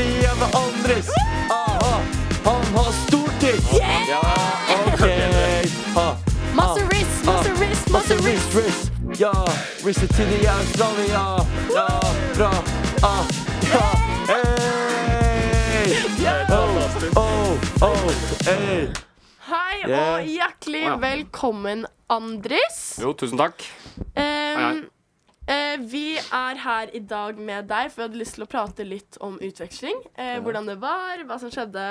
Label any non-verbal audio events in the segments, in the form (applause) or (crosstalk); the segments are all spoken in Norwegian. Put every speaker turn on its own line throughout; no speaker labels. (laughs)
Riss, ja. Risse til de jernslave, ja. Ja, fra A, ja. Hey!
fantastisk.
Oh, oh, oh, hey.
Hei
Yeah.
og hjertelig
Å, ja.
velkommen, Andris.
Jo, tusen takk.
Ehm, eh, vi er her i dag med deg, for vi hadde lyst til å prate litt om utveksling. Eh, Hvordan det var, hva som skjedde.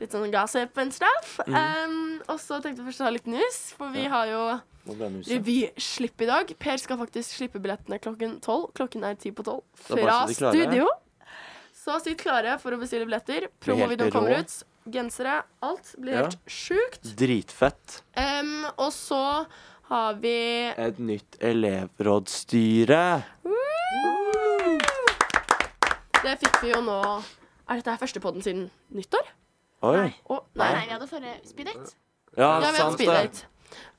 Litt sånn gossip and stuff.
Mm.
Ehm, og så tenkte vi først å ha litt news, for vi har jo revyslipp i dag. Per skal faktisk slippe billettene klokken tolv. Klokken er ti på tolv.
Da bare
Fra
sitt klare.
studio. Så sitt klare for å bestille billetter. Promovideoen
helt rå.
kommer ut. Gensere, alt blir
Ja.
helt sjukt.
Dritfett.
Em, og så har vi
Et nytt elevrådsstyre.
Det fikk vi jo nå Er dette her første podden siden nyttår?
Oi.
Å, nei.
Nei, nei, vi hadde forrige speeddate.
Ja,
Ja, vi hadde
sant det.
speeddate.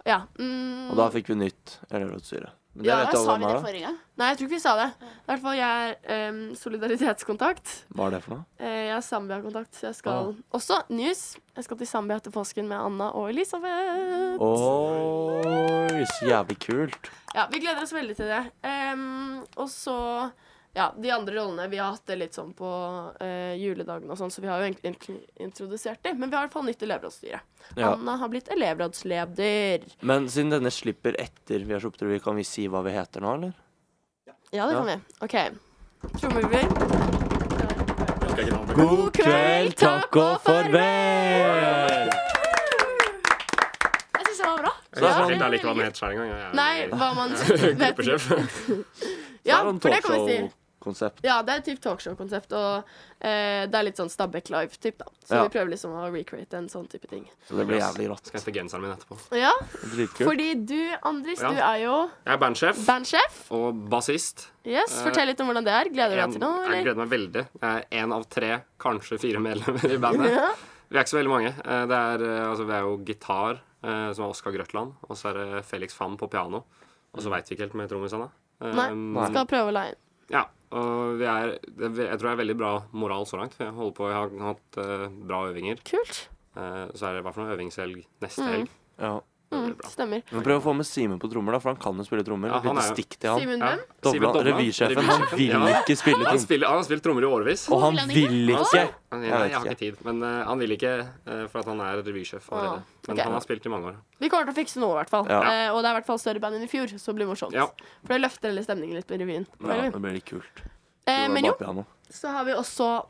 Ja. Mm,
Og da fikk vi nytt elevrådsstyre. Men det
Ja,
vet
Da
du
sa
alle
vi
hvem
det
er, da?
forrige gang.
nei, jeg tror ikke vi sa det. I hvert fall jeg er em, solidaritetskontakt.
Hva er det for noe?
Eh, jeg har Zambia-kontakt, så jeg skal også news. Jeg skal til Zambia etter påsken med Anna og Elisabeth.
Oi, så jævlig kult.
Ja, Vi gleder oss veldig til det. Em, og så ja, de andre rollene. Vi har hatt det litt sånn på eh, juledagen og sånn, så vi har jo egentlig- egentlig introdusert de. Men vi har i hvert fall nytt elevrådsstyre.
Ja.
Anna har blitt elevrådsleder.
Men siden denne slipper etter vi har sluppet revy, kan vi si hva vi heter nå, eller?
Ja, det
Ja.
kan vi. OK. Trommevirvel.
Skal ikke noe om det.
God
kveld, takk og
farvel!
Jeg syns det var bra.
sånn Jeg vet ikke likevel hva den heter selv engang. jeg-
Nei,
jeg-
hva man
jeg- Gruppesjef.
Ja, for det kan vi si.
Konsept.
Ja, det er et typ talkshow-konsept, og eh, det er litt sånn Stabæk Live-typ, da. Så
Ja.
vi prøver liksom å recreate en sånn type ting.
Så det blir jævlig rått.
Skal hente genseren min etterpå.
Ja,
Dritkult.
fordi du, Andris,
Ja.
du er jo
Jeg er bandsjef
bandsjef.
og bassist.
Yes,
Eh,
Fortell litt om hvordan det er. Gleder du
En,
deg til noe,
jeg
eller?
gleder meg veldig. Jeg er en av tre, kanskje fire medlemmer i bandet. Vi er ikke så veldig mange. Eh, Det er, eh, altså, vi er jo gitar, eh, som er Oskar Grøtland, og så er det Felix Pham på piano. Og så veit vi ikke helt med trommisene. Eh,
Nei, Skal prøve å leie inn.
Ja, og vi er, det- jeg tror det er veldig bra moral så langt. Vi holder på, jeg har hatt eh, bra øvinger.
Kult.
Eh, så er det hva for noe øvingshelg neste helg.
Ja.
Det blir
Mm,
bra.
stemmer.
Men prøv å få med Simen på trommer, da, for han kan jo spille trommer.
Ja, han
Litt
er jo-
stikk til han.
Simen
Ja.
hvem?
Dobla,
Dobla.
revysjefen. Han vil
Ja.
ikke spille
Han,
trommer.
spiller, han har spilt trommer i årevis.
Og han
Vil han ikke?
vil ikke!
Han,
Jeg
nei,
vet
jeg har
ikke.
ikke tid, men eh, han vil ikke eh, for at han er revysjef allerede. Men
ok.
han har spilt i mange år.
Vi kommer til å fikse noe, i hvert fall.
Ja.
Eh, og det er i hvert fall større band enn i fjor, så det blir morsomt.
Ja.
For det løfter hele stemningen litt på revyen.
Ja,
føler vi.
det blir litt kult.
Eh, men jo,
Bare piano.
så har vi også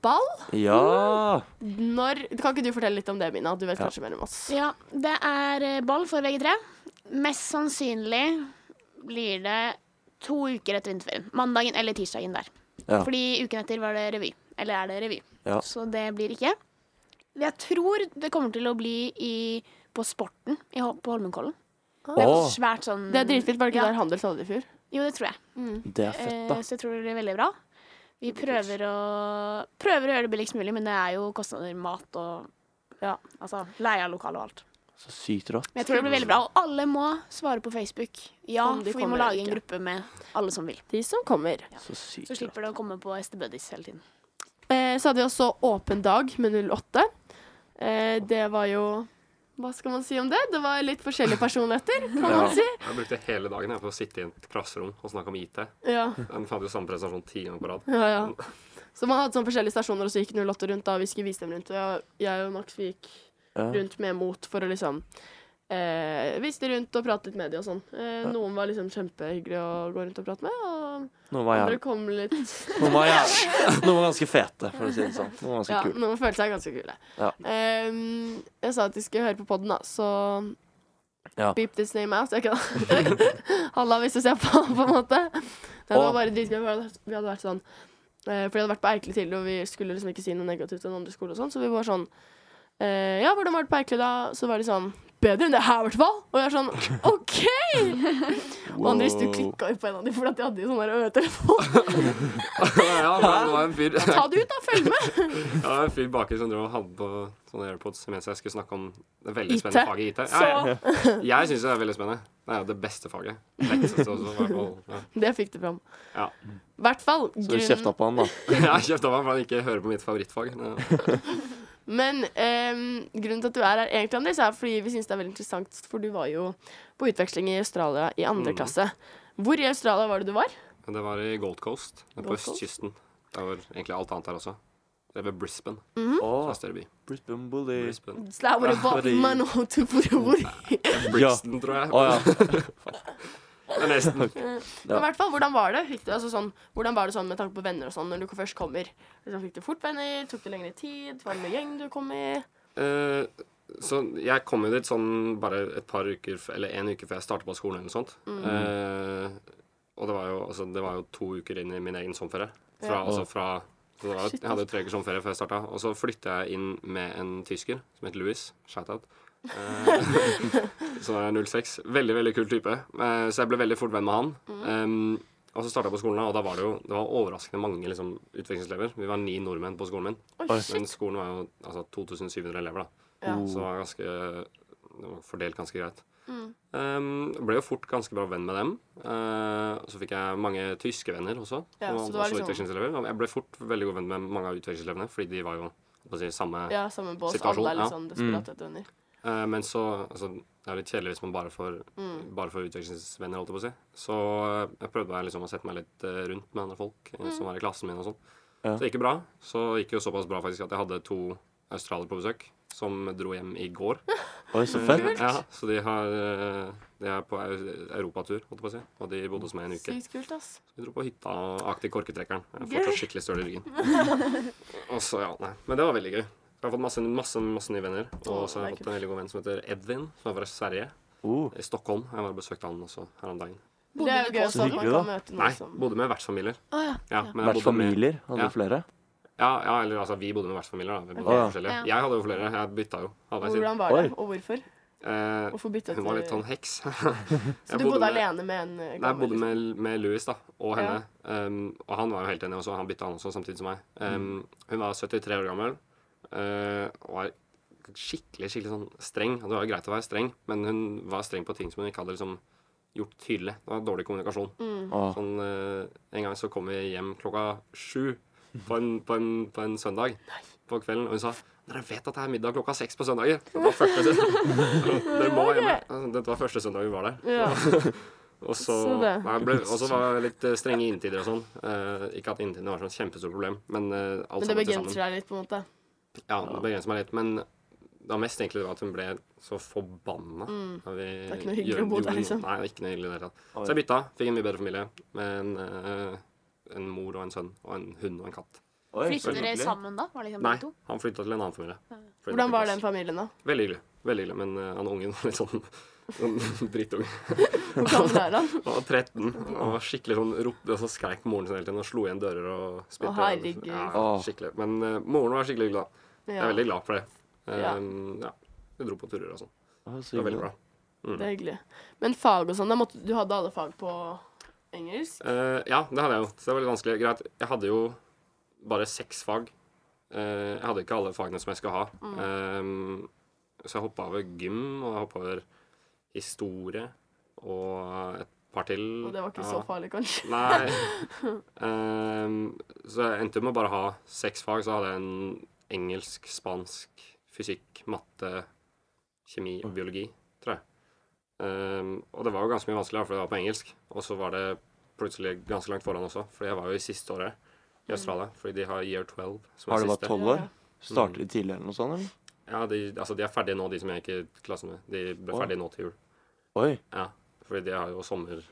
ball.
Ja!
Når, kan ikke du fortelle litt om det, Mina? Du vet
Ja.
kanskje mer om oss.
Ja, det er eh, ball for VG3. Mest sannsynlig blir det to uker etter vinterferien. Mandagen eller tirsdagen der.
Ja.
Fordi uken etter var det revy. Eller er det revy.
Ja.
Så det blir ikke. Jeg tror det kommer til å bli i, på Sporten i, Hol- på Holmenkollen. Det er
Åh.
svært sånn
Det er dritfint, var det ikke
Ja.
der Handels hadde det i fjor?
Jo, det tror jeg.
Det er fett, da.
Eh, Så jeg tror det blir veldig bra. Vi prøver å, prøver å gjøre det billigst mulig, men det er jo kostnader mat og ja, altså, leie av lokale og alt.
Så sykt rått.
Men jeg tror det blir veldig bra. Og alle må svare på Facebook. Ja,
Om de
for vi må
kommer
lage en
eller
gruppe med alle som vil.
De som kommer.
Så sykt
Så
rått.
slipper det å komme på SD Buddies hele tiden.
Eh, så hadde vi også åpen dag med 08. Eh, det var jo Hva skal man si om det? Det var litt forskjellige personligheter, kan man
Ja.
si.
Jeg brukte hele dagen jeg, på å sitte i et klasserom og snakke om IT.
Ja,
Han hadde jo samme presentasjon ti ganger på rad.
ja, ja. Så man hadde sånn forskjellige stasjoner, og så gikk 08 rundt. da Vi skulle vise dem rundt. Og jeg- jeg og Max vi gikk
Ja.
rundt med mot for å liksom eh, Vise de rundt og prate litt med de og sånn. Eh, noen var liksom kjempehyggelige å gå rundt og prate med, og
Nå var
andre
jeg
kom litt
Noen var, jævlig- (laughs) noen var ganske fete, for å si det sånn. Noen var ganske
Ja,
kule.
noen føler seg ganske kule.
Ja.
Ehm, jeg sa at de skulle høre på podden, da, så
Ja.
beep this name out. Jeg kødder. (laughs) Halla, hvis du ser på, på en måte. Nei, det var
Og-
bare dritgøy. for Vi hadde vært- vi hadde vært sånn eh, For vi hadde vært på Eikli tidligere, og vi skulle liksom ikke si noe negativt om andre skoler og sånn, så vi var sånn eh, Ja, hvordan var det på Eikli da? Så var de sånn Bedre enn det her, i hvert fall. Og jeg er sånn OK! Og Andris, du klikka jo på en av de fordi at de hadde jo sånn der øretelefon.
ja, men det var en fyr Det
Ta det ut, da. Følg med.
var en fyr baki som drev og hadde på sånne AirPods mens jeg skulle snakke om det veldig
IT.
spennende faget IT.
Så
Ja, ja. Jeg syns det er veldig spennende. Det er jo det beste faget. Letteste også, i hvert fall. Ja.
Det fikk det fram.
Ja.
I hvert fall.
Så du
grunnen-
kjefta på han, da.
Jeg kjefta meg for han ikke hører på mitt favorittfag. Ja.
Men ehm, grunnen til at du er her egentlig, Anders, er fordi vi syns det er veldig interessant, for du var jo på utveksling i Australia i
Mm.
andre klasse. Hvor i Australia var det du var?
Men det var i Gold Coast, nede på
Gold Coast?
østkysten. Det var egentlig alt annet her også. Det er ved Brisbane,
Mhm.
som er
Å,
en større by.
Brisbane Bullies.
Brisbane.
Så det er bare
Ja, fordi-
Batman og Tuporover.
Ja.
Brixton, tror jeg.
Å ja.
(laughs) Det er Nesten.
Men i hvert fall, hvordan var det? Fikk du, altså, sånn, hvordan var det sånn med tanke på venner og sånn når du først kommer? Liksom, fikk du fort venner? Tok det lengre tid? Var det noen gjeng du kom i?
Eh, så jeg kom jo dit sånn bare et par uker f- Eller en uke før jeg startet på skolen eller noe sånt.
Mm.
Eh, og det var, jo, altså, det var jo to uker inn i min egen sommerferie. Fra,
Ja.
altså, fra, så det var, jo- jeg hadde jo tre uker sommerferie før jeg starta. Og så flytta jeg inn med en tysker som het Louis. Shout-out. Eh, (laughs) som er 06. Veldig, veldig kul type. Eh, så jeg ble veldig fort venn med han.
Mm.
Eh, og så starta jeg på skolen, da, og da var det jo det var overraskende mange liksom, utvekslingselever. Vi var ni nordmenn på skolen min.
Oi,
Men
shit.
skolen var jo altså, 2700 elever, da.
Ja.
Så
Oh.
det var ganske det var fordelt ganske greit.
Mm.
Um, ble jo fort ganske bra venn med dem. Eh, og så fikk jeg mange tyske venner også.
Ja,
som
så
var
det var
også
liksom-
utvekslingselever. Og Jeg ble fort veldig god venn med mange av utvekslingselevene, fordi de var jo hva skal jeg si, samme
Ja, samme bås.
Situasjon,
Alle er
ja. Mm.
litt sånn desperate etter venner.
Eh, men så altså, Det er jo litt kjedelig hvis man bare får,
Mm.
bare får utvekslingsvenner, holdt jeg på å si. Så eh, jeg prøvde meg liksom å sette meg litt eh, rundt med andre folk eh,
Mm.
som var i klassen min og sånn.
Ja.
Så det gikk jo bra. Så det gikk jo såpass bra faktisk at jeg hadde to australiere på besøk som dro hjem i går.
Oi, så fett.
Mm. Ja, så de, har, eh, de er på eu- europatur, holdt jeg på å si. Og de bodde hos meg en uke.
Sykt kult, ass.
Så vi dro på hytta og akte korketrekkeren. Jeg er
Gøy.
fortsatt skikkelig støl i ryggen.
(laughs)
Og så, ja, nei. Men det var veldig gøy. Jeg har fått masse, masse, masse nye venner. Og
Å,
så har
det
jeg
er
fått en veldig god venn som heter Edvin, som er fra Sverige.
Oh,
I Stockholm. Jeg var og besøkte han også her om dagen.
Det er jo gøy også, at man
Hyggelig,
kan
da.
møte
Nei,
noen som
bodde med vertsfamilier.
Å ja.
Ja, men jeg
Vært
bodde med-
familier? Hadde
Ja.
du flere?
Ja, ja, eller altså, vi bodde med vertsfamilier, da. Vi bodde
Å, ja.
med forskjellige.
Ja.
Jeg hadde jo flere. Jeg bytta jo halvveis inn.
Hvordan var det,
Oi.
og hvorfor?
Eh,
Hvorfor bytta
hun var litt sånn heks. (laughs)
Så du bodde alene med en eh,
Nei, jeg
gammel
bodde med, med Louis da,
Ja.
og henne. Um, og han var jo helt enig også. Han bytta han også samtidig som meg. Um, hun var 73 år gammel uh, og var skikkelig skikkelig sånn streng. Og det var jo greit å være streng, men hun var streng på ting som hun ikke hadde liksom gjort tydelig. Det var dårlig kommunikasjon.
Mm.
Å,
Sånn, eh, en gang så kom vi hjem klokka sju på en, på en, på en søndag på kvelden, og hun sa dere vet at det er middag klokka seks på søndager. Det var første søndag. Dere må hjem. Altså, Dette var første søndag vi var der.
Ja.
Og så
Så det.
Nei, ble, og så var det litt eh, strenge inntider og sånn. Eh, ikke at inntidene var sånn kjempestort problem, men eh, alt
Men det
sammen til
begrenser
sammen.
deg litt, på en måte.
Ja, det begrenser meg litt. Men det var mest egentlig det var at hun ble så forbanna. da vi
Mm. er ikke noe hyggelig
gjør-
å bo der,
gjorde noe-
liksom.
Nei, det er ikke noe hyggelig i det hele tatt.
Oi.
Så jeg bytta. Fikk en mye bedre familie med en, eh, en mor og en sønn og en hund og en katt.
Oi, så
Flyttet dere
hyggelig.
sammen da? Var det liksom
Nei,
dere to?
han flytta til en annen familie. Flyttet til
Hvordan var
Plass.
den familien, da?
Veldig hyggelig. Veldig hyggelig, men eh, han ungen var litt sånn, (laughs) sånn drittunge.
Hvor gammel er han?
Han var 13 og var skikkelig sånn ropte og så skreik moren sin hele tiden og slo igjen dører og spytte.
Å, herregud.
Ja, skikkelig. Men eh, moren var skikkelig glad. Jeg
Ja,
er veldig glad for (laughs) det.
Ja.
Um, ja. Vi dro på turer og sånn.
Å,
Det
så
var veldig
hyggelig.
bra. Mm.
det er hyggelig. Men fag og sånn, da måtte du hadde alle fag på engelsk?
Eh, ja, det hadde jeg jo. Så det var litt vanskelig. Greit. Jeg hadde jo bare seks fag. Eh, jeg hadde ikke alle fagene som jeg skulle ha.
Mm.
Um, så jeg hoppa over gym, og jeg hoppa over historie og et par til.
Og det var ikke
Ja.
så farlig, kanskje?
Nei. Ehm, så jeg endte med å bare å ha seks fag. Så hadde jeg en engelsk, spansk, fysikk, matte, kjemi
Mm.
og biologi, tror jeg. Ehm, og det var jo ganske mye vanskeligere, for det var på engelsk. Og så var det plutselig ganske langt foran også, fordi jeg var jo i siste året i Australia. Fordi de har year 12 som
Har
er
du vært
siste.
tolv år? Starter Mm. de tidligere eller noe sånt? Eller?
Ja, de, altså, de er ferdige nå, de som jeg gikk i klassen med. De ble
Å.
ferdige nå til jul.
Oi,
Ja, fordi de har jo sommer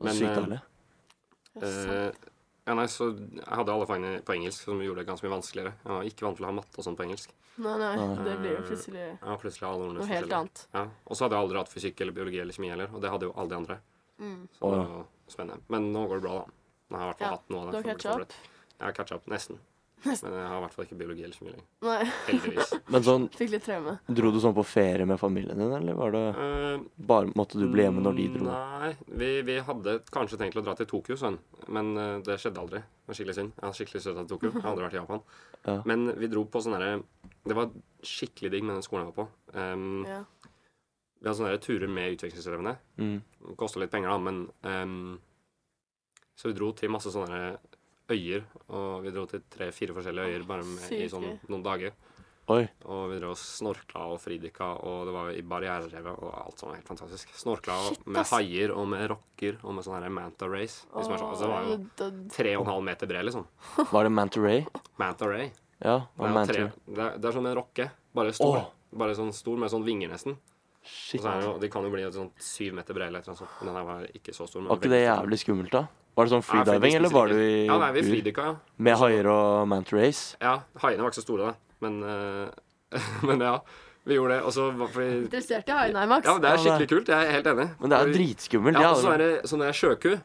så
Men,
sykt
eh,
deilig.
Eh, ja, nei, så Jeg hadde alle fagene på engelsk, som gjorde det ganske mye vanskeligere. Jeg var ikke vant til å ha matte og sånn på engelsk.
Nei, nei,
Nei.
det blir jo plutselig
Ja, plutselig alle ordene
noe
som
helt
skiller.
annet.
Ja. Og så hadde jeg aldri hatt fysikk eller biologi eller kjemi heller, og det hadde jo alle de andre. Så
Mm.
Å,
det
ja.
var jo spennende. Men nå går det bra, da. Nå har jeg i hvert fall
Ja,
hatt noe
du
av det.
har
for å bli
catch up?
forberedt. Jeg har catch up, nesten. Men jeg har i hvert fall ikke biologi eller kjemi lenger.
Nei, (laughs)
Heldigvis.
Men sånn,
fikk litt traume.
dro du sånn på ferie med familien din, eller var det
Eh,
bare måtte du bli hjemme når de dro?
Mm, Nei, vi, vi hadde kanskje tenkt å dra til Tokyo, sånn. men eh, det skjedde aldri. Det var skikkelig synd. Jeg hadde skikkelig støtt av Tokyo. Jeg hadde vært i Japan.
Ja.
Men vi dro på sånn derre Det var skikkelig digg med den skolen jeg var på. Um,
Ja.
Vi hadde sånne derre turer med utvekslingselevene.
Mm.
Det kosta litt penger, da, men um, Så vi dro til masse sånne øyer, og vi dro til tre-fire forskjellige øyer bare med,
syke.
i sånn noen dager.
Oi.
Og vi drev og snorkla og fridykka, og det var i barriererevet og alt sånn. Helt fantastisk. Snorkla
Shit,
med
ass.
haier og med rocker og med sånn her manta race. Hvis man skjønner. altså, det var jo tre og en halv meter bred, liksom.
Var det Manta Ray?
Manta ray.
Ja.
Det
Og
er, jo
Manta
tre,
Ray.
det er, det er som en rocke, bare stor.
Åh.
Bare sånn stor med sånn vinger, nesten. Og
Shit.
så er det jo, De kan jo bli sånn syv meter brede eller et eller annet sånt. Men den her var ikke så stor. Men
Var ikke det
veldig stor.
jævlig skummelt, da? Var det sånn
Nei,
freediving, eller var du i
Ja, nei, vi
bur
fridykka, ja.
med haier og Manta Rays?
Ja, Haiene var ikke så store, da. Men, eh, (laughs) men ja, vi gjorde det. Og så var for vi
Interessert i haiene, Max?
Ja, men det
Ja,
er
det
skikkelig kult. Jeg er helt enig.
Men det er
Og vi-
dritskummelt.
Ja,
Ja,
og så er det sånn der sjøku.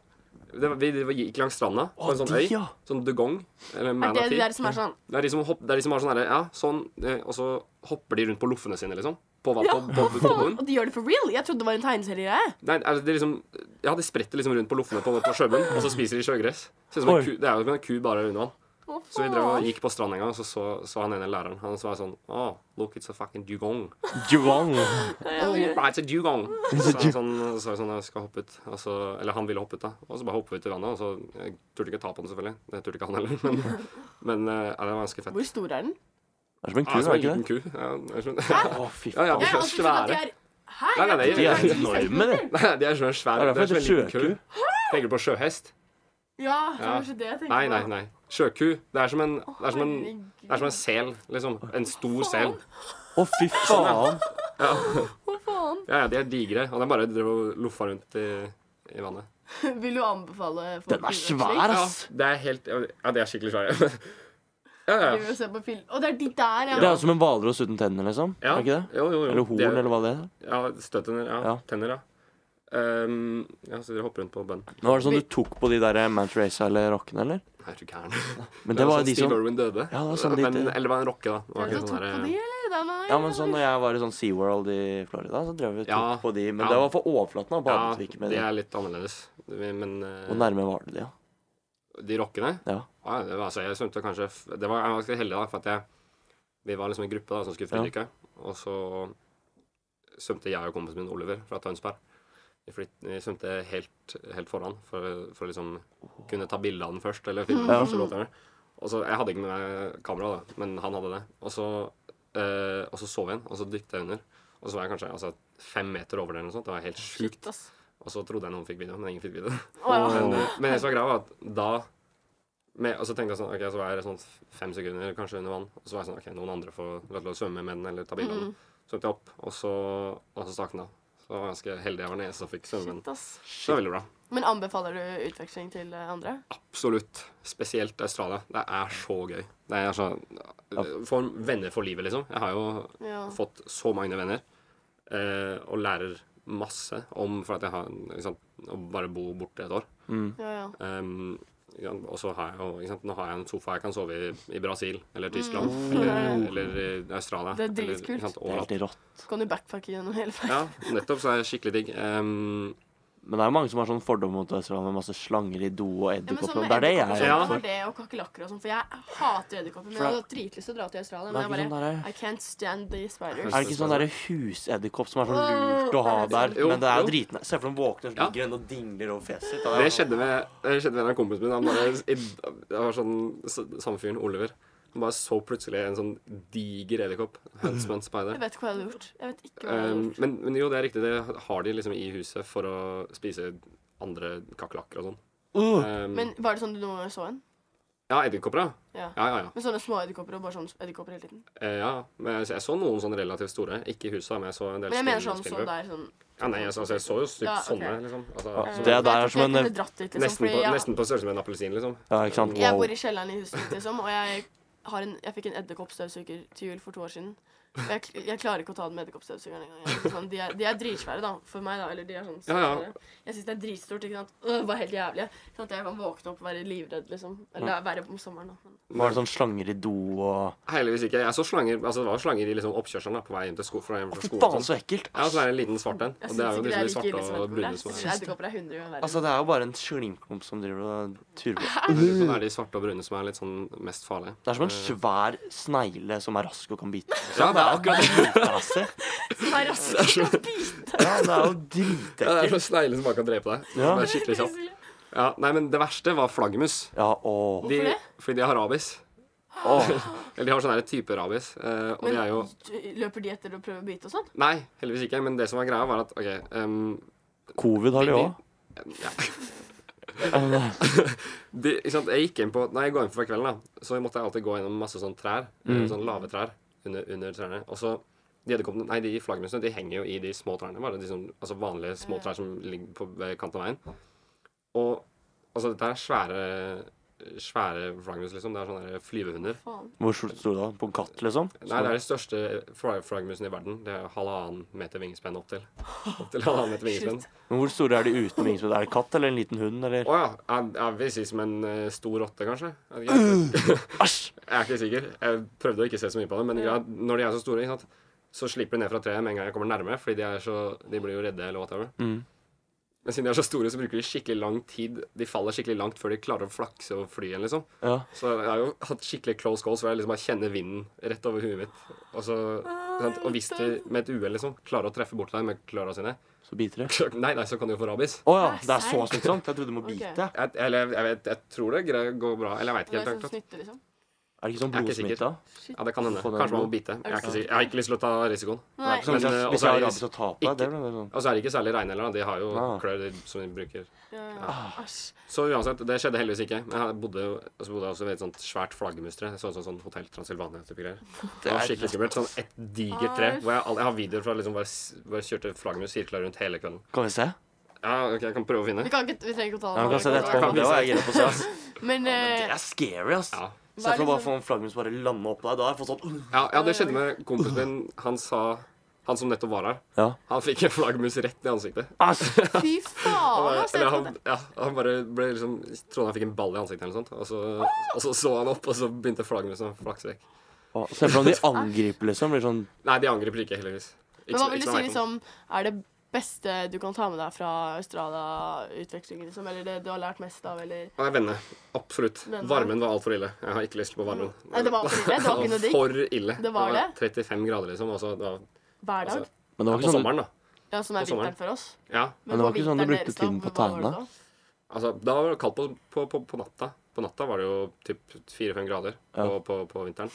Det var, vi det var- gikk langs stranda på
Å,
en sånn
de,
øy.
ja.
Sånn dugong. Eller
Er det
manatee.
de der som er sånn
Det er de som, hopp, det er de som har sånn herre Ja, sånn. eh, Og så hopper de rundt på loffene sine, liksom. På, vann-
Ja,
på, på, på, på bunnen.
Og de gjør det for real? Jeg trodde det var en tegneseriegreie.
Nei, altså, de liksom Ja, de spretter liksom rundt på loffene på, på sjøbunnen, og så spiser de sjøgress. Ser ut som
Oi.
en ku, det er jo som en ku bare under vann. Så vi drev og gikk på stranda en gang, og så så, så han ene læreren. Han så var sånn Oh, look, it's a fucking dugong.
Juang.
Oh, right, it's
(laughs)
a dugong. Så sa han sånn, så var jeg sånn jeg skal hoppe ut. Og så, eller han ville hoppe ut, da. Og så bare hoppe ut i vannet. Og så jeg turte ikke ta på den, selvfølgelig. Det turte ikke han heller.
(laughs)
Men, men eh, ja, det var ganske fett.
Hvor stor er den?
Det er som en
Ja,
ku,
som
er
en
det ikke
liten
det?
ku. Ja, sånn- jeg skjønner.
Å, fy
Ja,
faen.
ja, de
Jeg har
er
alltid trodd at de
svære.
er her.
Nei, nei, nei,
De er
de er-
enorme, det.
(laughs) Nei, de er som en svær
Det er
Det
derfor
er som en
det er
liten ku. Tenker du på sjøhest?
Ja, det
Ja.
var ikke det jeg tenkte
Nei, nei, nei. Sjøku. Det er som en, det er som en, det er som
Herregud,
en sel, liksom. En stor sel.
Å, fy faen.
Hva faen?
Ja, ja, de er digre. Og den bare drev og loffa rundt i, i vannet.
(laughs) Vil du anbefale folk
Den er svær,
Ja,
ass.
det er helt Ja, de er skikkelig svære. (laughs) Ja, ja, ja.
Vil du se på film? Å, det er de der, ja.
Det er jo som en hvalross uten tenner, liksom.
ja.
Er det ikke det?
Jo, jo, jo.
Eller horn,
De er-
eller hva det er.
Ja, støttenner. Ja.
Ja.
Tenner, ja. Ehm, ja, så dere hopper rundt på bønn.
Men var det sånn du tok på de der Manta Rays eller rockene, eller?
Nei, er du gæren.
Men det var jo
(laughs) sånn
de
Steve
som
Irwin døde.
Ja, det var sånn
men,
lite-
Eller var en rocke, da. Det var
Du
ikke
tok
sånn
på
der,
de, eller? Da, nei,
Ja, men sånn når jeg var i sånn SeaWorld i Florida, så drev vi og tok
Ja,
på de. Men
ja.
det var for overflaten, og
ja,
badet vi ikke med
de
de.
er litt annerledes. Vi- Men eh,
Hvor nærme var du de, da?
de rockene
Ja.
ja, det var, altså, Jeg svømte kanskje f- Det var, Jeg var ganske heldig, da, for at jeg Vi var liksom en gruppe da som skulle
Ja.
fridykke. Og så svømte jeg og kompisen min Oliver fra Tønsberg. Vi, flytt, vi svømte helt, helt foran for, for å liksom kunne ta bilde av den først. Eller filme den
Ja.
først, eller hva det er. Og så, Jeg hadde ikke med meg kamera, da, men han hadde det. Og så, eh, og så sov jeg igjen, og så dykket jeg under. Og så var jeg kanskje altså, fem meter over det. eller noe sånt. Det var helt sjukt.
Shit, ass.
Og så trodde jeg noen fikk video, men ingen fikk video.
Å, ja.
Men, men det som var greia, var at da med, Og så tenkte jeg sånn Ok, så var jeg sånn fem sekunder kanskje under vann. Og så var jeg sånn Ok, noen andre får la til å svømme med den, eller ta bilde av
Mm.
den. Svømte jeg opp, og så, og så stakk den av. Så jeg var ganske heldig jeg var den eneste som fikk svømme med den.
Shit, ass.
Så det var veldig bra.
Men anbefaler du utveksling til eh, andre?
Absolutt. Spesielt Australia. Det er så gøy. Det er så Får venner for livet, liksom. Jeg har jo
Ja.
fått så mange venner eh, og lærer masse om For at jeg har ikke sant, å bare bo borte et år.
Ja, ja.
Um, ja, og så har jeg jo ikke sant, Nå har jeg en sofa jeg kan sove i i Brasil eller Tyskland eller, eller i Australia.
Mm. Det er
eller,
dritkult.
ikke sant,
Det er
overalt.
helt rått.
Så kan du backpacke gjennom hele verden.
Ja, nettopp. Så er det skikkelig digg. Um,
Men det er jo mange som har sånn fordom mot Australia med masse slanger i do og
Ja, men sånn
edderkopper.
med
det er det jeg er
edderkopper
Ja.
sånn, for det og kakerlakker og sånn, for jeg hater edderkopper. Men
For
jeg
det-
hadde dritlyst til å dra til Australia,
Det er
men
ikke
jeg
sånn
bare
der-
I can't stand the spiders.
Er det ikke sånn derre husedderkopp som er sånn lurt å ha der?
Jo,
Men det er jo
jo.
dritne. Se for deg om våkner og
Ja.
ligger en og dingler over fjeset sitt.
det skjedde med, det skjedde med en av kompisene mine. Han bare, i, det var sånn s- samme fyren, Oliver. Han bare så plutselig en sånn diger edderkopp. Huntsman spider.
Jeg vet ikke hva jeg hadde gjort. Jeg vet ikke hva jeg hadde
Um,
gjort.
men, men jo, det er riktig. Det har de liksom i huset for å spise andre kakerlakker og sånn.
Uh,
Um,
Men var det sånn du noen gang så en?
ja, edderkopper, ja.
Ja.
Ja, ja, ja.
Med sånne små edderkopper og bare sånn edderkopper hele tiden.
Eh, ja, men jeg, jeg så noen sånn relativt store. Ikke i huset, men jeg så en del
Men jeg mener sånn
Steven
så
Spielberg.
der sånn
Ja, nei, altså, altså, jeg så jo stygt
Ja, ok.
sånne, liksom. Altså,
Ja,
som,
det
Men
er
jeg
der
tror
som
ikke jeg
en-
kunne dratt dit, liksom,
nesten,
fordi
på,
jeg-
nesten på størrelse med en appelsin, liksom.
sånn- ja, ikke sant?
Jeg
Wow.
bor i kjelleren i huset mitt, liksom, og jeg, har en, jeg fikk en edderkoppstøvsuger til jul for to år siden. Og jeg, kl- jeg klarer ikke å ta den med edderkoppstøvsugeren engang. Jeg er Sånn, de, er- de er dritsvære, da, for meg, da. Eller de er sånn
Ja, ja.
svære. Jeg syns det er dritstort. ikke sant? Øh, bare helt jævlig. Sånn at jeg kan våkne opp og være livredd, liksom. Eller det er verre om sommeren, da. Men
Var det sånn slanger i do og
Heldigvis ikke. Jeg så slanger, altså, det var slanger i liksom, oppkjørselen da, på vei hjem til sko, fra hjem fra
Fy
skolen. og
faen,
sånn.
så ekkelt!
Ja, så er det en liten svart en.
jeg
Og det er
syns ikke det
jo liksom de
er like
svarte
ille som
og
edderkopper.
brune
Jeg
som
synes
er
Edderkopper er 100 ganger verre.
Altså, det er jo bare en slimklump som driver og turer på.
Jeg lurer på om Det er de svarte og brune som er litt sånn mest farlige.
Det er som en svær snegle som er rask og kan bite.
Ja, det er akkurat (laughs)
Dritrassig.
Nei, raskt, jeg skal bite.
Ja, det er jo
Ja, det er
dritekkelt.
sånn snegle som bare kan drepe deg.
Ja.
Det er skikkelig kjapt. Ja, nei, men det verste var flaggermus.
Ja, åh.
De,
Hvorfor det?
fordi de har rabies.
åh.
Eller de har sånn her type rabies. eh, og
Men
de er jo
løper de etter å prøve å bite og sånn?
Nei, heldigvis ikke. Men det som var greia, var at OK ehm,
Covid har de òg.
ja. (laughs) de, ikke sant? Jeg gikk inn på Når jeg går inn for kvelden, da så måtte jeg alltid gå gjennom masse sånne trær. eh, Sånne lave trær under, under trærne. Og så de edderkoppene Nei, de flaggermusene de henger jo i de små trærne. Bare de sånn, altså vanlige små trær som ligger på ved kanten av veien. Og altså, dette er svære Svære flaggermus, liksom. Det er sånne der flyvehunder.
Faen.
(laughs) Hvor stort sto det? På en katt, liksom?
Nei, det er de største fly- flaggermusene i verden. Det er halvannen meter vingespenn opp til. Opp til halvannen meter vingespenn.
Shit.
Men hvor store er de uten vingspenn? Er det katt eller en liten hund, eller?
Å ja. Jeg, jeg vil si som en eh, stor rotte, kanskje. Jeg vet ikke.
Æsj!
Jeg er ikke sikker. Jeg prøvde å ikke se så mye på det, men greia- når de er så store, ikke sant, så slipper de ned fra treet med en gang jeg kommer nærme, fordi de, er så, de blir jo redde eller whatever.
Mm.
Men siden de er så store, så bruker de skikkelig lang tid. De faller skikkelig langt før de klarer å flakse og fly igjen, liksom.
Ja.
Så jeg har jo hatt skikkelig close calls hvor jeg liksom bare kjenner vinden rett over huet mitt. Og, så, sant? og hvis de med et uhell liksom klarer å treffe bort deg med klørne sine, (laughs)
Så biter det.
nei, nei, så kan du jo få rabies.
Å ja,
Nei,
det er så
serr?
smittsomt? Jeg trodde du må bite.
Ok.
Jeg, eller jeg, vet, jeg tror det gre- går bra. Eller jeg veit
Det
ikke
er
helt.
sånn
akkurat.
snytte, liksom.
Er det ikke sånn
Jeg er ikke sikker.
blodsmitte?
Shit.
Ja, det kan hende.
Få den
Kanskje man
blod.
må bite. Jeg, er
sant?
ikke sikker. jeg har ikke lyst til å ta risikoen.
Nei.
Sånn, hvis
Men,
jeg-
eh,
hvis
også
jeg
er
har
det-
rabies og taper deg, det blir det sånn.
Og så er det ikke særlig reine heller. da. De har jo
Ah.
klør som de bruker.
Ja, ja.
Ah.
Æsj.
Så uansett, det skjedde heldigvis ikke. Men jeg bodde, jo- og så bodde jeg også ved et sånt svært flaggermustre. Det så ut som sånn Hotell Transilvania-type greier. Det var skikkelig skummelt. Sånn et digert tre. Hvor jeg, all- jeg har videoer fra liksom bare, s- hvor jeg kjørte flaggermus sirkla rundt hele kvelden.
Kan vi se?
Ja, ok, jeg kan prøve å finne.
Vi, kan ikke, vi trenger ikke å ta
Ja, vi kan se det
nå.
etterpå. men Det var jeg gira på å se. ass.
Men
Det
eh,
er scary, ass.
Ja.
Se for deg
sånn-
bare å få en flaggermus bare lande oppå deg. Da har jeg fått sånn
Ja, ja, det skjedde med kompisen min. Han sa Han som nettopp var her,
Ja.
han fikk en flaggermus rett i ansiktet.
Æsj!
(laughs)
fy faen, altså.
Eller
Jeg trodde
han, ja, han bare ble liksom trodde han fikk en ball i ansiktet, eller noe sånt. Og
Ah!
så, og så så han opp, og så begynte flaggermusen å flakse vekk.
Å, Se for deg om de angriper, liksom. Blir sånn
Nei, de angriper ikke, heldigvis. Ikke
Men
så-
hva vil du
ikke så
si
merkelig.
liksom, er det beste du kan ta med deg fra Australia-utvekslingen? Liksom, eller det du har lært mest av? Eller?
Nei, vennene. Absolutt.
Vennene.
Varmen var altfor ille. Jeg har ikke lyst på varmen.
Nei, det var for ille. Det var ikke noe digg.
For ille.
Det var det.
35 grader, liksom. Altså, det var,
Hver dag?
altså,
Men det var
på
ikke sånn
sommeren, da.
ja, som er
på sommeren.
vinteren for oss?
Ja,
Men det var
på
ikke sånn du
vinteren
brukte
deres da,
tiden på
hva var det
tærne?
da?
altså, da var det kaldt på, på, på, på natta. På natta var det jo typ 4-5 grader på,
Ja.
på, på vinteren.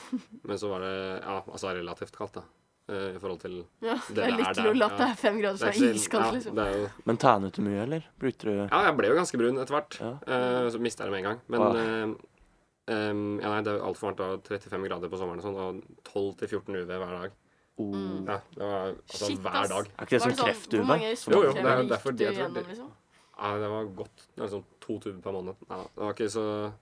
Men så var det ja, altså relativt kaldt, da. Eh, I forhold til
Ja,
Det
det er
der,
litt
der,
lol at
ja.
det er fem grader som
Det er ikke
er
så-
iskaldt,
ja,
liksom.
det er jo
Men tannet du mye, eller? Brukte du
Ja, jeg ble jo ganske brun etter hvert.
Mm.
Ja.
Eh, så mista jeg det med en gang. Men
Wow.
eh, em, ja, nei, det er altfor varmt. da, 35 grader på sommeren og sånn, og 12-14 UV hver dag.
oh.
Ja, det var altså
Shit,
hver
ass.
dag.
Er ikke det
Mm. Var
som
det sånn,
kreft du
hvor
med?
mange
Som-
Jo, jo, det er jo
solkrem
derfor
gikk
det jeg
du
tror
gjennom,
det-
liksom?
Ja, det var godt. Det var sånn to tuber per måned. Ja, det var ikke så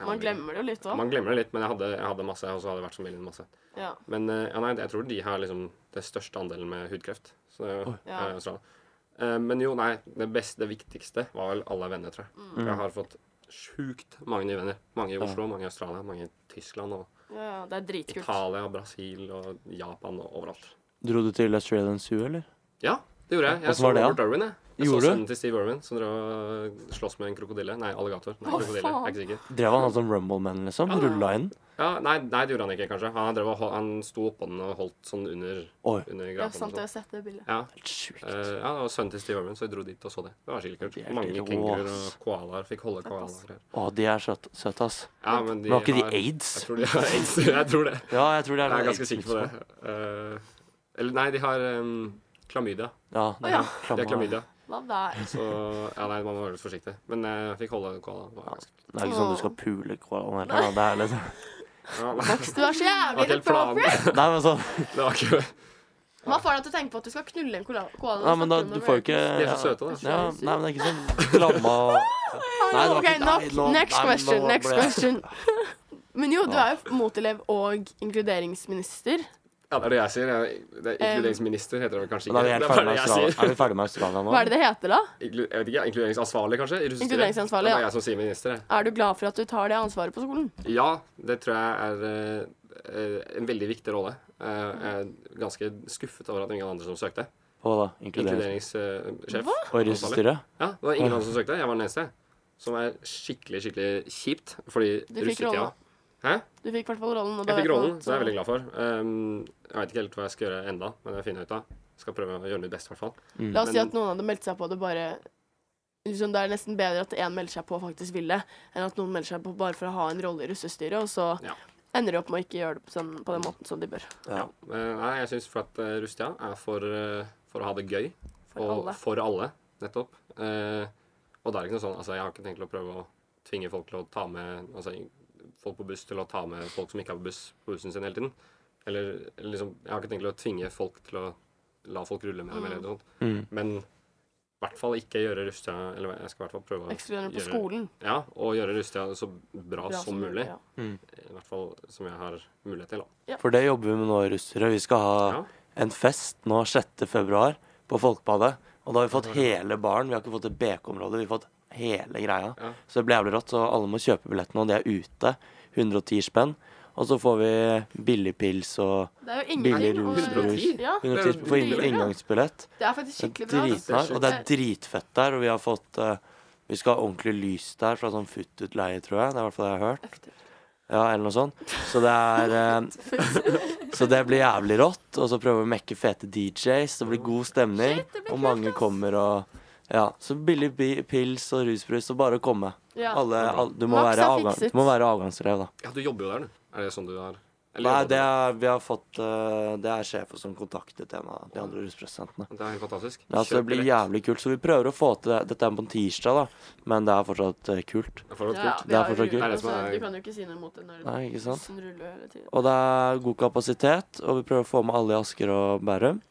Ja,
Man glemmer det jo litt òg.
Man glemmer det litt, men jeg hadde, jeg hadde masse, og så hadde det vært så veldig masse.
Ja.
Men eh, ja, nei, jeg tror de har liksom det største andelen med hudkreft. Så det er jo
Ja.
er jo Australia. Eh, Men jo, nei, det beste, det viktigste var vel alle venner, tror jeg.
Mm.
Jeg har fått sjukt mange nye venner. Mange i Oslo, mange i Australia, mange i Tyskland og
Ja, ja, det er dritkult.
Italia, Brasil og Japan og overalt.
Dro du til Australian Zoo, eller?
Ja, det gjorde jeg.
Hvordan var
Jeg så
det, da?
Robert Irwin, jeg. Jeg
Gjorde
så
du?
sønnen til Steve Irwin som drev og sloss med en krokodille. Nei, alligator. Nei, krokodille. Jeg er ikke sikker.
Drev han han som Rumble-man, liksom? Rulla inn?
Ja, nei, nei, det gjorde han ikke, kanskje. Han, drev og hol- han sto oppå den og holdt sånn under,
Oi,
under
Ja,
grapen.
sant, jeg
og sånn.
har sett det bildet.
Ja.
helt sjukt.
Eh, ja, det var sønnen til Steve Irwin, så jeg dro dit og så det. Det var skikkelig
Det
kult.
er
Mange
rå,
kenguruer
ass.
og koalaer fikk holde koalaer.
Å, de er søt- søte, ass.
Ja, men de
Men har ikke de
har-
aids?
Jeg tror de har (laughs) aids. Jeg tror det.
Ja, jeg tror det er
Jeg er
noe
ganske sikker på
AIDS-smittsomt.
det. Eh, eller nei, de har um, klamydia.
Ja, det
Å,
er
ja.
De har
klamma.
klamydia.
Hva der?
Så ja, nei, man må være litt forsiktig. Men eh, jeg fikk holde koalaen. Det var ganske-
Det er ikke sånn du skal pule koalaen heller. da. Det er liksom
Ja, (laughs) nei, det
Du er så
var ikke
jævlig
helt planen.
Nei, men sånn
(laughs) Det var ikke
Hva får deg til å tenke på at du skal knulle en koala? koala
Nei, men da,
snakker om
du
det
får jo
med-
ikke
De er så søte, da.
Ja, nei, men det er ikke sånn klamma Nei, det var
Ok,
ikke- nei,
nok.
nå-
next
nei, men
question.
nå
next
ble-
question.
(laughs)
Men jo, du er jo motelev og inkluderingsminister.
Ja, det er det jeg sier. Jeg, det er inkluderingsminister heter det vel kanskje
Men
ikke.
er vi helt
det
ferdig med
er bare det
Australia?
jeg sier.
Er vi ferdig med Australia nå?
Hva er det det heter, da?
Inklu- Jeg vet ikke, Inkluderingsansvarlig, kanskje? i russestyret?
Inkluderingsansvarlig,
Det er
ja.
bare jeg som sier minister, jeg.
Er du glad for at du tar det ansvaret på skolen?
Ja, det tror jeg er eh, eh, en veldig viktig rolle. Eh, jeg er ganske skuffet over at ingen andre som søkte.
Hva da? Inkludering
Inkluderingssjef.
og russestyret?
Ja, det var ingen andre som søkte. Jeg var den eneste. Som er skikkelig, skikkelig kjipt, fordi
Du fikk
russetida
rollen.
Hæ?
Du fikk i hvert fall rollen. Og da
Jeg fikk
vet man
rollen,
at-
så det er jeg veldig glad for. Um, jeg vet ikke helt hva jeg skal gjøre enda, men jeg finner ut av. Skal prøve å gjøre mitt beste, i hvert fall.
La oss si
Men-
at noen hadde meldt seg på det bare liksom, det er nesten bedre at én melder seg på og faktisk vil det, enn at noen melder seg på bare for å ha en rolle i russestyret, og så
Ja.
ender de opp med å ikke gjøre det på, sånn, på den måten som de bør.
Ja. Eh, Nei, jeg syns for at eh, Rustia er for, eh, for å ha det gøy.
For
og
alle.
for alle, nettopp. Eh, og det er ikke noe sånn, altså jeg har ikke tenkt til å prøve å tvinge folk til å ta med altså, folk på buss til å ta med folk som ikke er på buss, på bussen sin hele tiden. Eller liksom, jeg har ikke tenkt til å tvinge folk til å la folk rulle med dem eller noe sånt.
Mm.
Men i hvert fall ikke gjøre Rustia Eller jeg skal i hvert fall prøve å
Ekskludere på
gjøre-
skolen.
Ja, og gjøre Rustia så bra,
Bra
som mulig.
ja.
I hvert fall som jeg har mulighet til. Da.
For det jobber vi med nå, russere. Vi skal ha
Ja.
en fest nå 6. februar på Folkebadet. Og da har vi fått hele baren. Vi har ikke fått et BK-område, vi har fått hele greia.
Ja.
Så det blir jævlig rått. Så alle må kjøpe billett nå. Det er ute. 110 spenn. Og så får vi billig pils og
Det er jo
billig
ingenting.
rus.
og-
110?
brus.
Ja,
110 spenn for inn-
Dritbra.
inngangsbillett.
det er faktisk
Det
skikkelig
er
bra. da.
dritnice, og det er dritfett der. Og vi har fått eh, Vi skal ha ordentlig lys der fra sånn FUT-utleie, tror jeg. Det er i hvert fall det jeg har hørt. Ja, eller noe sånt. Så det er
(laughs)
eh, Så det blir jævlig rått. Og så prøver vi å mekke fete DJs. Det blir god stemning.
Shit, det blir
og
kult,
mange
ass.
kommer og Ja. Så billig bi- pils og rusbrus, og bare å komme.
Ja.
Alle, all- du, må
Max
være
er
avgang,
fikset.
du må være avgangsrev, da.
Ja, du jobber jo der, du. Er det sånn du har eller
Nei,
jobber du-
det er, vi har fått eh, Det er sjefen som kontaktet en av de andre ruspresentene.
Det er helt fantastisk.
Ja, så det
Kjøp
blir
billett.
jævlig kult. Så vi prøver å få til det. Dette er på en tirsdag, da, men det er fortsatt eh, kult.
Det er fortsatt
Ja,
kult.
Det er fortsatt
vi har
kult.
jo-
Det er det som
altså,
er-
Du kan jo ikke si noe imot det når
Nei, ikke sant?
bussen ruller hele tiden.
Og det er god kapasitet, og vi prøver å få med alle i Asker og Bærum.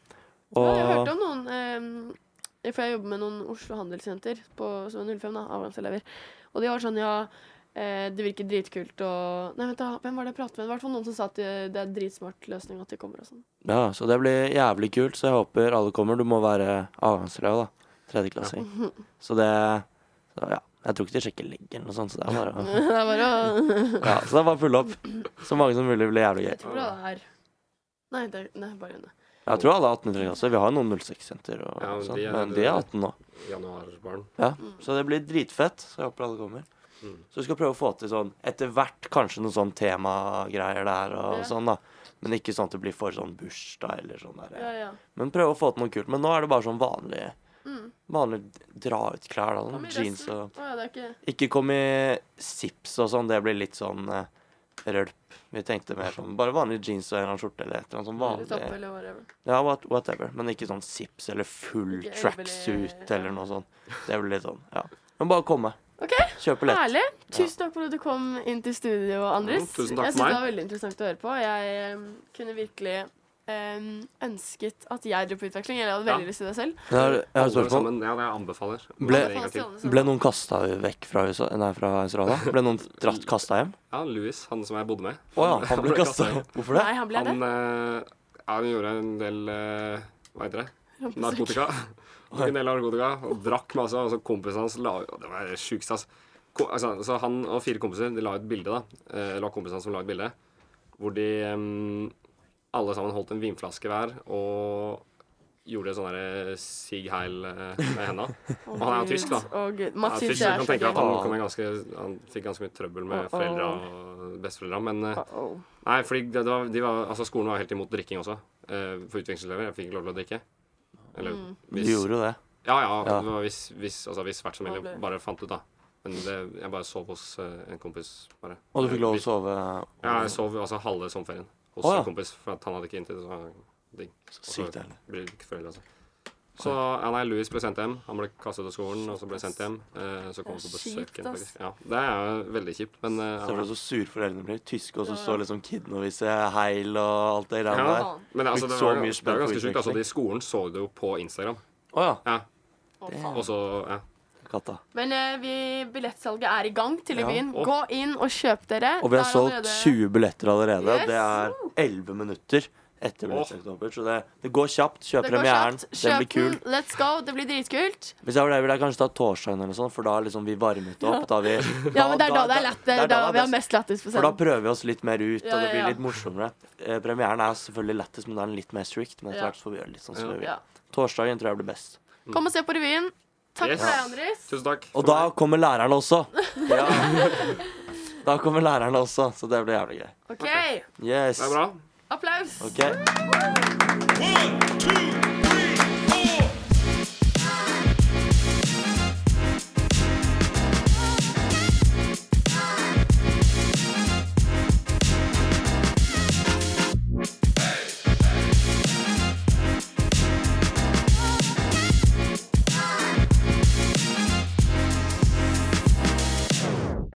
Ja, Jeg har
Og
hørt om noen eh, For jeg jobber med noen Oslo Handelssenter på, som er 05, da, avgangselever. Og de var sånn, ja eh, Det virker dritkult og Nei, vent, da. Hvem var det jeg pratet med? Det var i hvert fall noen som sa at det, det er en dritsmart løsning at de kommer og sånn. (laughs)
ja, så det blir jævlig kult, så jeg håper alle kommer. Du må være avgangselev, da. Tredjeklassing. (laughs) Så det så, Ja. Jeg tror ikke de sjekker leggen og sånn, så det er bare
(laughs)
å
Det er bare å
ja, Så det er bare å pulle opp. Så mange som mulig blir jævlig gøy.
Jeg tror det er Nei, det, er- nei bare unna.
Jeg tror alle er 18 i tredje klasse. Vi har noen 06-jenter og
Ja, men
sånn,
de er-
men de er 18 nå.
Januarbarn.
Ja, så det blir dritfett. Så jeg håper alle kommer.
Mm.
Så vi skal prøve å få til sånn etter hvert kanskje noen sånn temagreier der og
Ja.
sånn, da. Men ikke sånn at det blir for sånn bursdag eller sånn der.
Ja, ja.
Men prøve å få til noe kult. Men nå er det bare sånn vanlig Vanlig dra ut klær, da.
Kom
Sånn,
i
jeans
resten.
og
Å, ja, det er ikke
Ikke kom i sips og sånn. Det blir litt sånn eh, rølp. Vi tenkte mer sånn bare vanlig jeans og en eller annen skjorte eller et eller annet
eller
sånn
topp
vanlig.
eller whatever.
Ja, what, whatever. Men ikke sånn sips eller full
Ikke
tracksuit
elvelig-
eller noe sånt. Det blir litt sånn, ja. Men bare komme.
OK,
Kjøp billett.
herlig. Tusen takk for at du kom inn til studio, Andres.
Mm, tusen takk
jeg
for
synes
meg.
det var veldig interessant å høre på. Jeg em, kunne virkelig em, ønsket at jeg dro på utveksling. Eller jeg hadde veldig
Ja.
lyst til det selv.
Jeg har, jeg har et
Alle
spørsmål.
sammen, Ja, det jeg anbefaler.
Ble-
Det er egentlig-
Ble noen kasta vekk fra, USA, nei, fra Australia? Ble noen dratt kasta hjem?
Ja, Louis, han som jeg bodde med.
Å ja, han ble kasta
kastet.
hjem. Hvorfor det?
Nei, han ble det.
Han, eh, ja, han gjorde en del eh, Hva heter det? Narkotika. Han
(laughs)
Tok en del narkotika og drakk masse. Og så kompisen hans la og Det var det sjukeste, ass. Ko- Altså, så han og fire kompiser de la ut bilde, da. Eh, Det var kompisen hans som la ut bilde. Hvor de em, alle sammen holdt en vinflaske hver og gjorde sånn derre Sig Heil eh, med henda.
Å,
han er jo
Gud.
tysk, da.
Å, Gud. Mats
Ja,
syns
Fritz,
jeg
jeg
er
kan
så
tenke
gøy.
at han, kom i ganske, han fikk ganske mye trøbbel med
Uh-oh.
foreldre og besteforeldre. Men eh,
Å, å.
nei, fordi det, det var, de var, altså, skolen var helt imot drikking også. eh, for utvekslingselever. Jeg fikk ikke lov til å drikke. Eller
Mm.
Du
hvis
gjorde jo det.
Ja, ja.
Ja.
Det var hvis, hvis, altså, hvis vertsfamilien
Alle.
bare fant ut, da. Men det, jeg bare sov hos eh, en kompis, bare.
Og du fikk lov å sove?
Ja, jeg sov altså halve sommerferien hos
Å, ja.
en kompis, for at han hadde ikke inntid. Så han- digg.
Sykt deilig.
Blir ikke foreldre, altså. Så ja, nei, Louis ble sendt hjem. Han ble kastet av skolen og så ble sendt hjem. Eh, så kom han
Det er
på
kjipt,
besøk igjen,
ass.
faktisk. Ja, det er jo veldig kjipt, men eh,
Se for
ja.
deg så sur foreldrene blir. Tyske, og så står liksom kidden og viser heil og alt det greiene der.
Ja, men altså,
Brukt
det
så
var,
mye
det
spenn
var
på
ganske sjukt. Altså,
utveksling.
de skolen så det jo på Instagram.
Å ja.
Ja,
Å, faen.
og så ja.
Katta.
Men eh, vi, billettsalget er i gang til i
Ja.
byen.
Å.
Gå inn og kjøp dere.
Og vi har
Det er
solgt
allerede-
20 billetter allerede.
Yes.
Det er 11 minutter etter billettsalget er over, så det, det går kjapt. Kjøp
Det går
premieren.
kjapt.
Den blir
Kjøp
kul.
den. Let's go. Det blir dritkult.
Hvis jeg var der, ville jeg kanskje ta torsdagen eller noe sånt, for da er liksom vi varmet opp. Da vi,
Ja, men det er da det er
det
lættis.
er da det er
Vi har
best.
mest lættis på
For da
scenen.
prøver vi oss litt mer ut,
Ja,
og det
ja,
blir
ja.
litt morsommere. Eh, premieren er selvfølgelig lettest, men den er litt mer strict. Men etter
Ja.
hvert får vi gjøre litt sånn som vi
Ja.
vil. Torsdagen tror jeg blir best.
Kom og se på revyen. Takk
Yes.
for deg, Andres.
Tusen takk.
Og da kommer læreren
(laughs)
også. Ja. Da kommer læreren også, så det blir jævlig gøy.
OK.
Yes.
Det er bra.
Applaus.
Ok.
One, two, three.